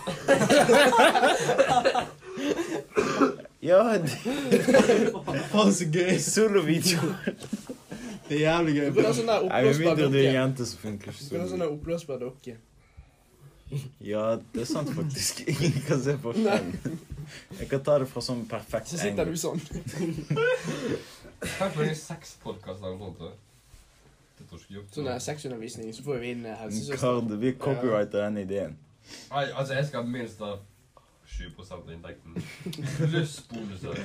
C: ja, det
A: Faen, så gøy.
C: er solovideo.
A: Det er jævlig gøy.
D: Du kan ha sånn der
C: Nei, med
D: oppblåsbar
C: mindre du er
D: dokke.
C: jente, så funker
D: Du kan
C: ikke
D: ha sånn
C: solo.
D: der oppblåsbar dokke.
C: Ja, det er sant faktisk. Ingen kan se forskjellen. Jeg kan ta det fra sånn perfekt
D: Så sitter
C: angle.
D: du sånn.
G: Tenk på lenge seks podkaster eller noe sånt. da. Det tror jeg
D: Sånn
G: ikke jeg
D: der
G: har gjort.
D: sexundervisning, så får vi inn eh, helsesøster.
C: Karde, vi copyrighter den ideen.
G: Nei, altså, jeg skal ha minst av 20 av inntekten. Pluss bonuser.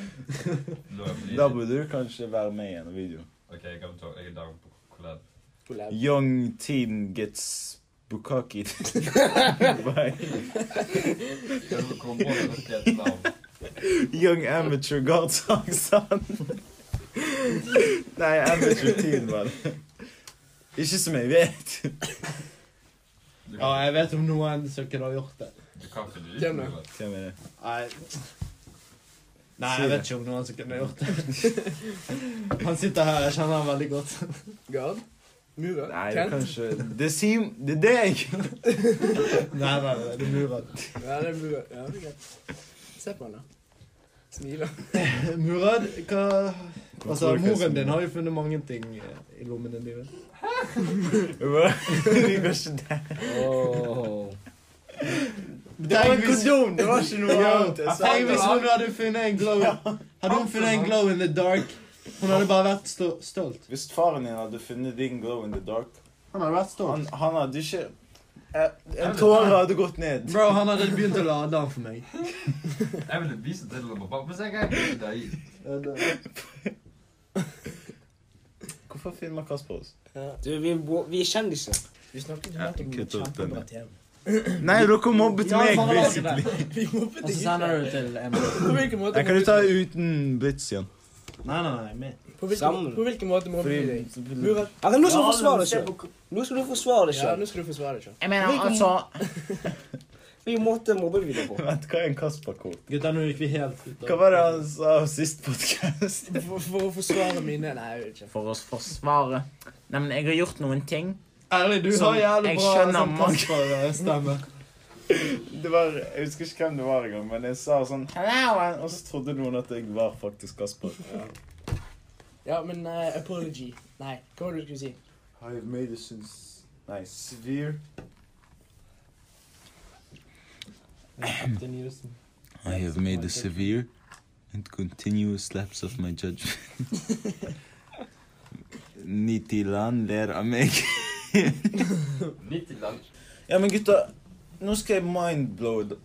G: Nå er jeg blitt-
C: Da burde du kanskje være med i en video.
G: Ok, jeg kan ta, jeg er down på collab.
D: Collab.
C: Young teen gets bukaki. By
G: Jeg vil komme på med et helt navn.
C: young amateur guard sang Nei, amateur teen, mann. Ikke som jeg vet.
G: Du
A: Ja,
G: kan-
A: jeg vet om noen som kunne ha gjort det.
G: Du kan ikke lyve.
D: Hvem er?
C: Hvem er det?
A: Nei. Nei, jeg vet ikke om noen som kunne ha gjort det. Han sitter her, jeg kjenner han veldig godt.
D: Gard. Muren.
C: Nei, det er
D: Kent.
C: kanskje Det er Sim... Det er deg!
A: Nei, nei, nei, det er Murad.
D: Ja, det er Muren. Ja, det er greit. Se på han, da. Smiler.
A: Murad, hva Altså, moren din har jo funnet mange ting eh, i lommene dine.
C: Vi går ikke der.
F: Åh.
A: Det var en kondom!
C: Det var ikke noe annet. jeg sa.
A: Tenk hvis hun hadde funnet en glow Hadde hun funnet en glow in the dark? Hun hadde bare vært stå- stolt.
C: Hvis faren din hadde funnet din glow in the dark
A: Han hadde vært
C: Han,
A: stolt.
C: han hadde ikke eh, En tåre hadde gått ned.
A: Bro, han hadde begynt å lade den for meg.
G: Jeg ville vise til dem og bare se hva jeg gjør der i.
C: Hvorfor filmer Kasper oss?
F: Du, vi, er bo- vi er kjendiser.
D: Vi snakket jo
C: Ja,
D: nettopp om
C: kutt ut den,
D: kjempebra
C: ja.
D: TV.
C: Nei, dere mobbet
A: Ja,
C: meg,
A: faen, han hadde
C: basically.
A: det.
D: Vi
A: Og
D: mobbet
A: så
D: ikke.
A: sender du til Emma.
D: På hvilken måte
C: Jeg kan jo ta uten blits igjen.
A: Nei, nei, nei. meg.
D: På hvilken,
F: Sammen.
D: på hvilken måte mobbet vi deg?
C: Fordi
D: Muren.
F: Ok, nå skal du forsvare deg selv. Nå skal du forsvare deg
D: Ja,
F: selv.
D: nå skal du forsvare deg selv.
C: Jeg mener, altså
F: Vi måtte mobbe videre på.
C: Vent, hva er en Kasper-kort?
A: Gutta, nå gikk vi helt ut
C: Hva var det han sa sist podkast?
D: For, for å forsvare mine Nei, jeg vet ikke.
H: for å forsvare Nei, men jeg har gjort noen ting.
A: Ærlig, du
H: Som
A: har jævlig
H: jeg
A: bra
H: skjønner
A: sånn
H: mange-
A: Kasper-stemme.
C: Det var, jeg husker ikke hvem det var engang, men jeg sa sånn Hello! Og så trodde noen at jeg var faktisk Kasper.
D: Ja, men eh, apology. Nei, hva var det du skulle si?
C: I've made it since Nei, severe. I have made a severe and continuous slaps of my judgment. Nitilan ler av meg.
G: Midt i land.
C: Ja, men gutta, nå skal jeg mindblowe d-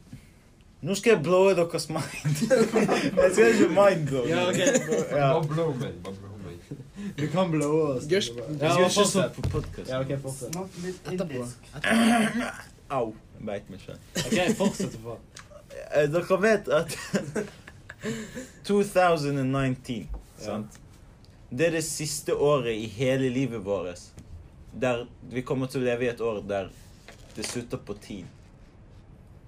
C: Nå skal jeg blowe deres mind. jeg skal ikke mindblowe.
A: Ja, ok.
C: ja.
G: Bare blow meg. Bare blow meg.
A: Du kan blowe oss.
D: Gørs-
A: Ja,
C: Jeg skal ikke
A: fortsett.
C: sånn på podcast.
A: Ja, ok, fortsett.
D: Etterpå.
C: Au. Jeg beit meg selv.
A: Ok, fortsett å få.
C: Eh, Dere vet at 2019, sant? Det er det siste året i hele livet vårt der vi kommer til å leve i et år der det slutter på teen.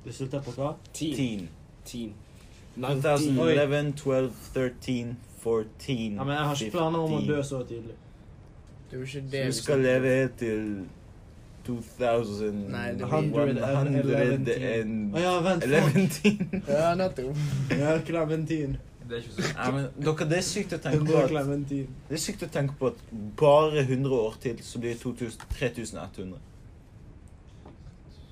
A: Du slutter på hva?
C: Teen.
F: Teen. 19.
C: 2011, 12, 13, 14
A: Ja, men Jeg har ikke planer om å dø så tidlig.
D: Det er liksom- jo ikke det
C: Du
D: vi
C: skal leve helt til 2000
D: Nei, det
A: blir-
C: 111
A: Å ja, vent. faen.
C: 11
D: Ja, nettopp.
A: Ja, Clementin.
G: Det er ikke så
C: Ja, men dere, det er sykt å tenke på
A: 100
C: at
A: Clementin.
C: Det er sykt å tenke på at bare 100 år til så blir det 2000, 3100.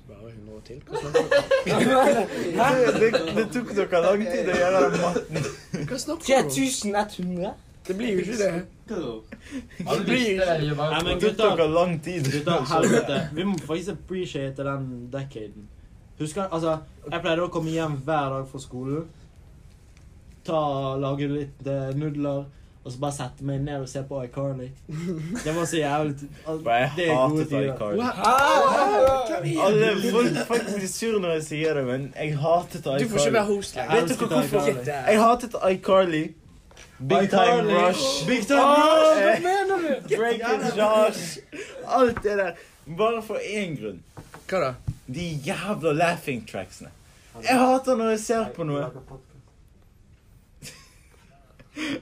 D: Bare 100 til? Hva snakker,
C: Hæ? Det, det tok dere lang tid å gjøre den matten.
D: hva snakker du om?
F: 3100?
D: Det blir jo ikke det.
G: Alle mysterier var
A: Nei,
C: Det
A: men
C: tok
A: gutta,
C: dere lang tid.
A: gutta, helvete. Vi må faktisk appreciate den decaden. Husker, altså, Jeg pleide å komme hjem hver dag fra skolen. Ta, Lage litt eh, nudler. Og så bare sette meg ned og se på iCarly. Det var så jævlig al-
C: Bro,
A: Det
C: jeg
A: er gode
C: hatet
A: tider.
C: iCarly.
D: Kom igjen.
C: Alle folk faktisk blir sur når jeg sier det, men jeg hatet
D: Du får ikke være
C: iCarly.
D: host lenger.
C: Vet dere hvorfor?
D: Get that.
C: Jeg hatet iCarly. Big Time
A: iCarly.
C: Rush. Ah,
A: Big time rush!
C: Hva mener du? Drake and Josh. Alt det der. Bare for én grunn.
D: Hva da?
C: De jævla laughing tracksene. Jeg hater når jeg ser på noe.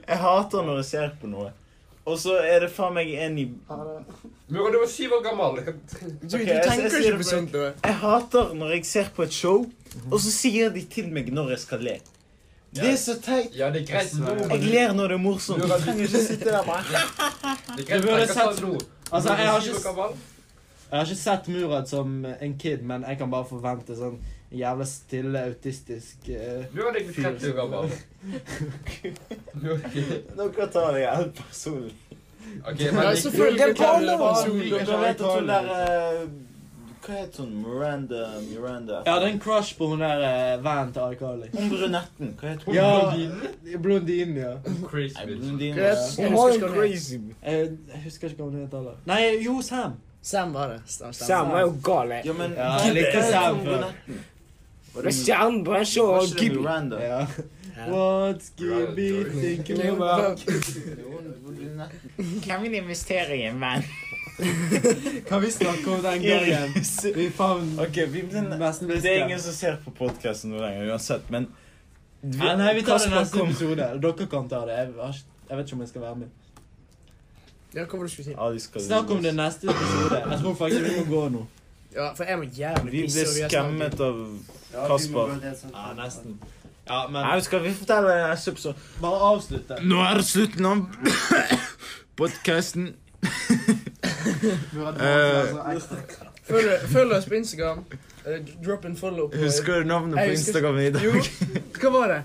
C: Jeg hater når jeg ser på noe. Og så er det faen meg en i
G: Mura, du var syv år gammel.
D: Du,
C: Ok,
D: du
C: jeg- jeg
D: tenker
C: sier
D: ikke
C: det
D: på sånt. du.
C: Jeg hater når jeg ser på et show, og så sier de til meg når jeg skal le. Det er så teit.
G: Ja, det er greit nå. men-
C: Jeg ler når det er morsomt. Du trenger ikke sitte der bare
G: Det er greit
A: Du
G: å
A: burde
G: tenke
A: sett-
G: sånn nå.
A: Altså, jeg har ikke
G: Syv år gammel.
A: Jeg har ikke sett Murad som eh, en kid, men jeg kan bare forvente sånn jævla stille, autistisk eh,
G: Mura, det er 30 år gammel. Mura-
C: Dere tar det helt personlig.
G: Ok, men
D: Ja, selvfølgelig kan du
C: Dere vet at hun der eh, Hva het hun? Miranda Miranda
A: Jeg hadde en crush på hun der eh, vanen til R. Carly.
C: Hun brunetten. Hva het hun?
A: Ja, blondinen, ja.
G: Crazy
C: Nei,
G: bitch.
C: blondinen.
D: Hva het
F: Hun
D: Jeg
F: var
D: husker
F: jo
D: ikke hva det
F: crazy.
A: Jeg, jeg husker ikke hva hun het heller. Nei, jo, Sam.
D: Sam var det. Stem, stem.
F: Sam er jo gal, jeg.
C: Ja, men
A: Ja, jeg likte
C: Hva het
A: Sam
C: hun
A: før.
C: brunetten? Var
F: Med
C: det-
F: stjernen på den showet
C: var
F: og
C: ikke det
F: Gibby.
C: Miranda?
A: Ja.
D: Ja.
A: What's Gibby thinking about?
F: Kan vi investere i en venn?
A: Kan vi snakke om den gangen
C: Iris.
A: vi fant
C: Ok, vi blir
A: nesten
C: Det er ingen
A: beste?
C: som ser på podcasten nå lenger uansett, men
A: Ja, nei, vi tar det
C: Kasper
A: neste
C: kom-
A: episode. Dere kan ta det. Jeg, har ikke- jeg vet ikke om jeg skal være med.
D: Ja, hva var det du skulle si?
C: Ja, de skal-
A: Snakk om det neste episode. Jeg tror faktisk vi må gå nå.
D: Ja, for jeg må jævlig
C: Vi
D: pisse,
C: ble
D: og vi har
C: skammet av Kasper.
D: sånn.
A: Ja, nesten. Ja, men
C: Nei, skal vi fortelle det neste episode?
A: bare avslutte.
C: Nå er det slutten av podcasten.
D: altså. snakket- Følg, følg oss på Instagram. Eh, Drop and follow på
C: Eh, Husker du navnet på
D: Jeg husker-
C: Instagram i dag?
D: Jo, hva var det?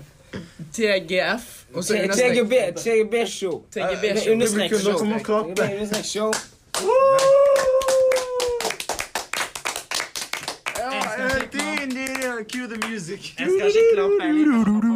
D: TGF, og så understrek.
F: TGB, TGB show.
D: TGB
F: Med
D: show.
F: understrek
C: Publikum,
F: show.
C: dere må klappe.
F: TGB understrek show.
D: Ja, jeg-
C: Din, din, din, Cue the music.
A: Jeg skal ikke klappe. Jeg liker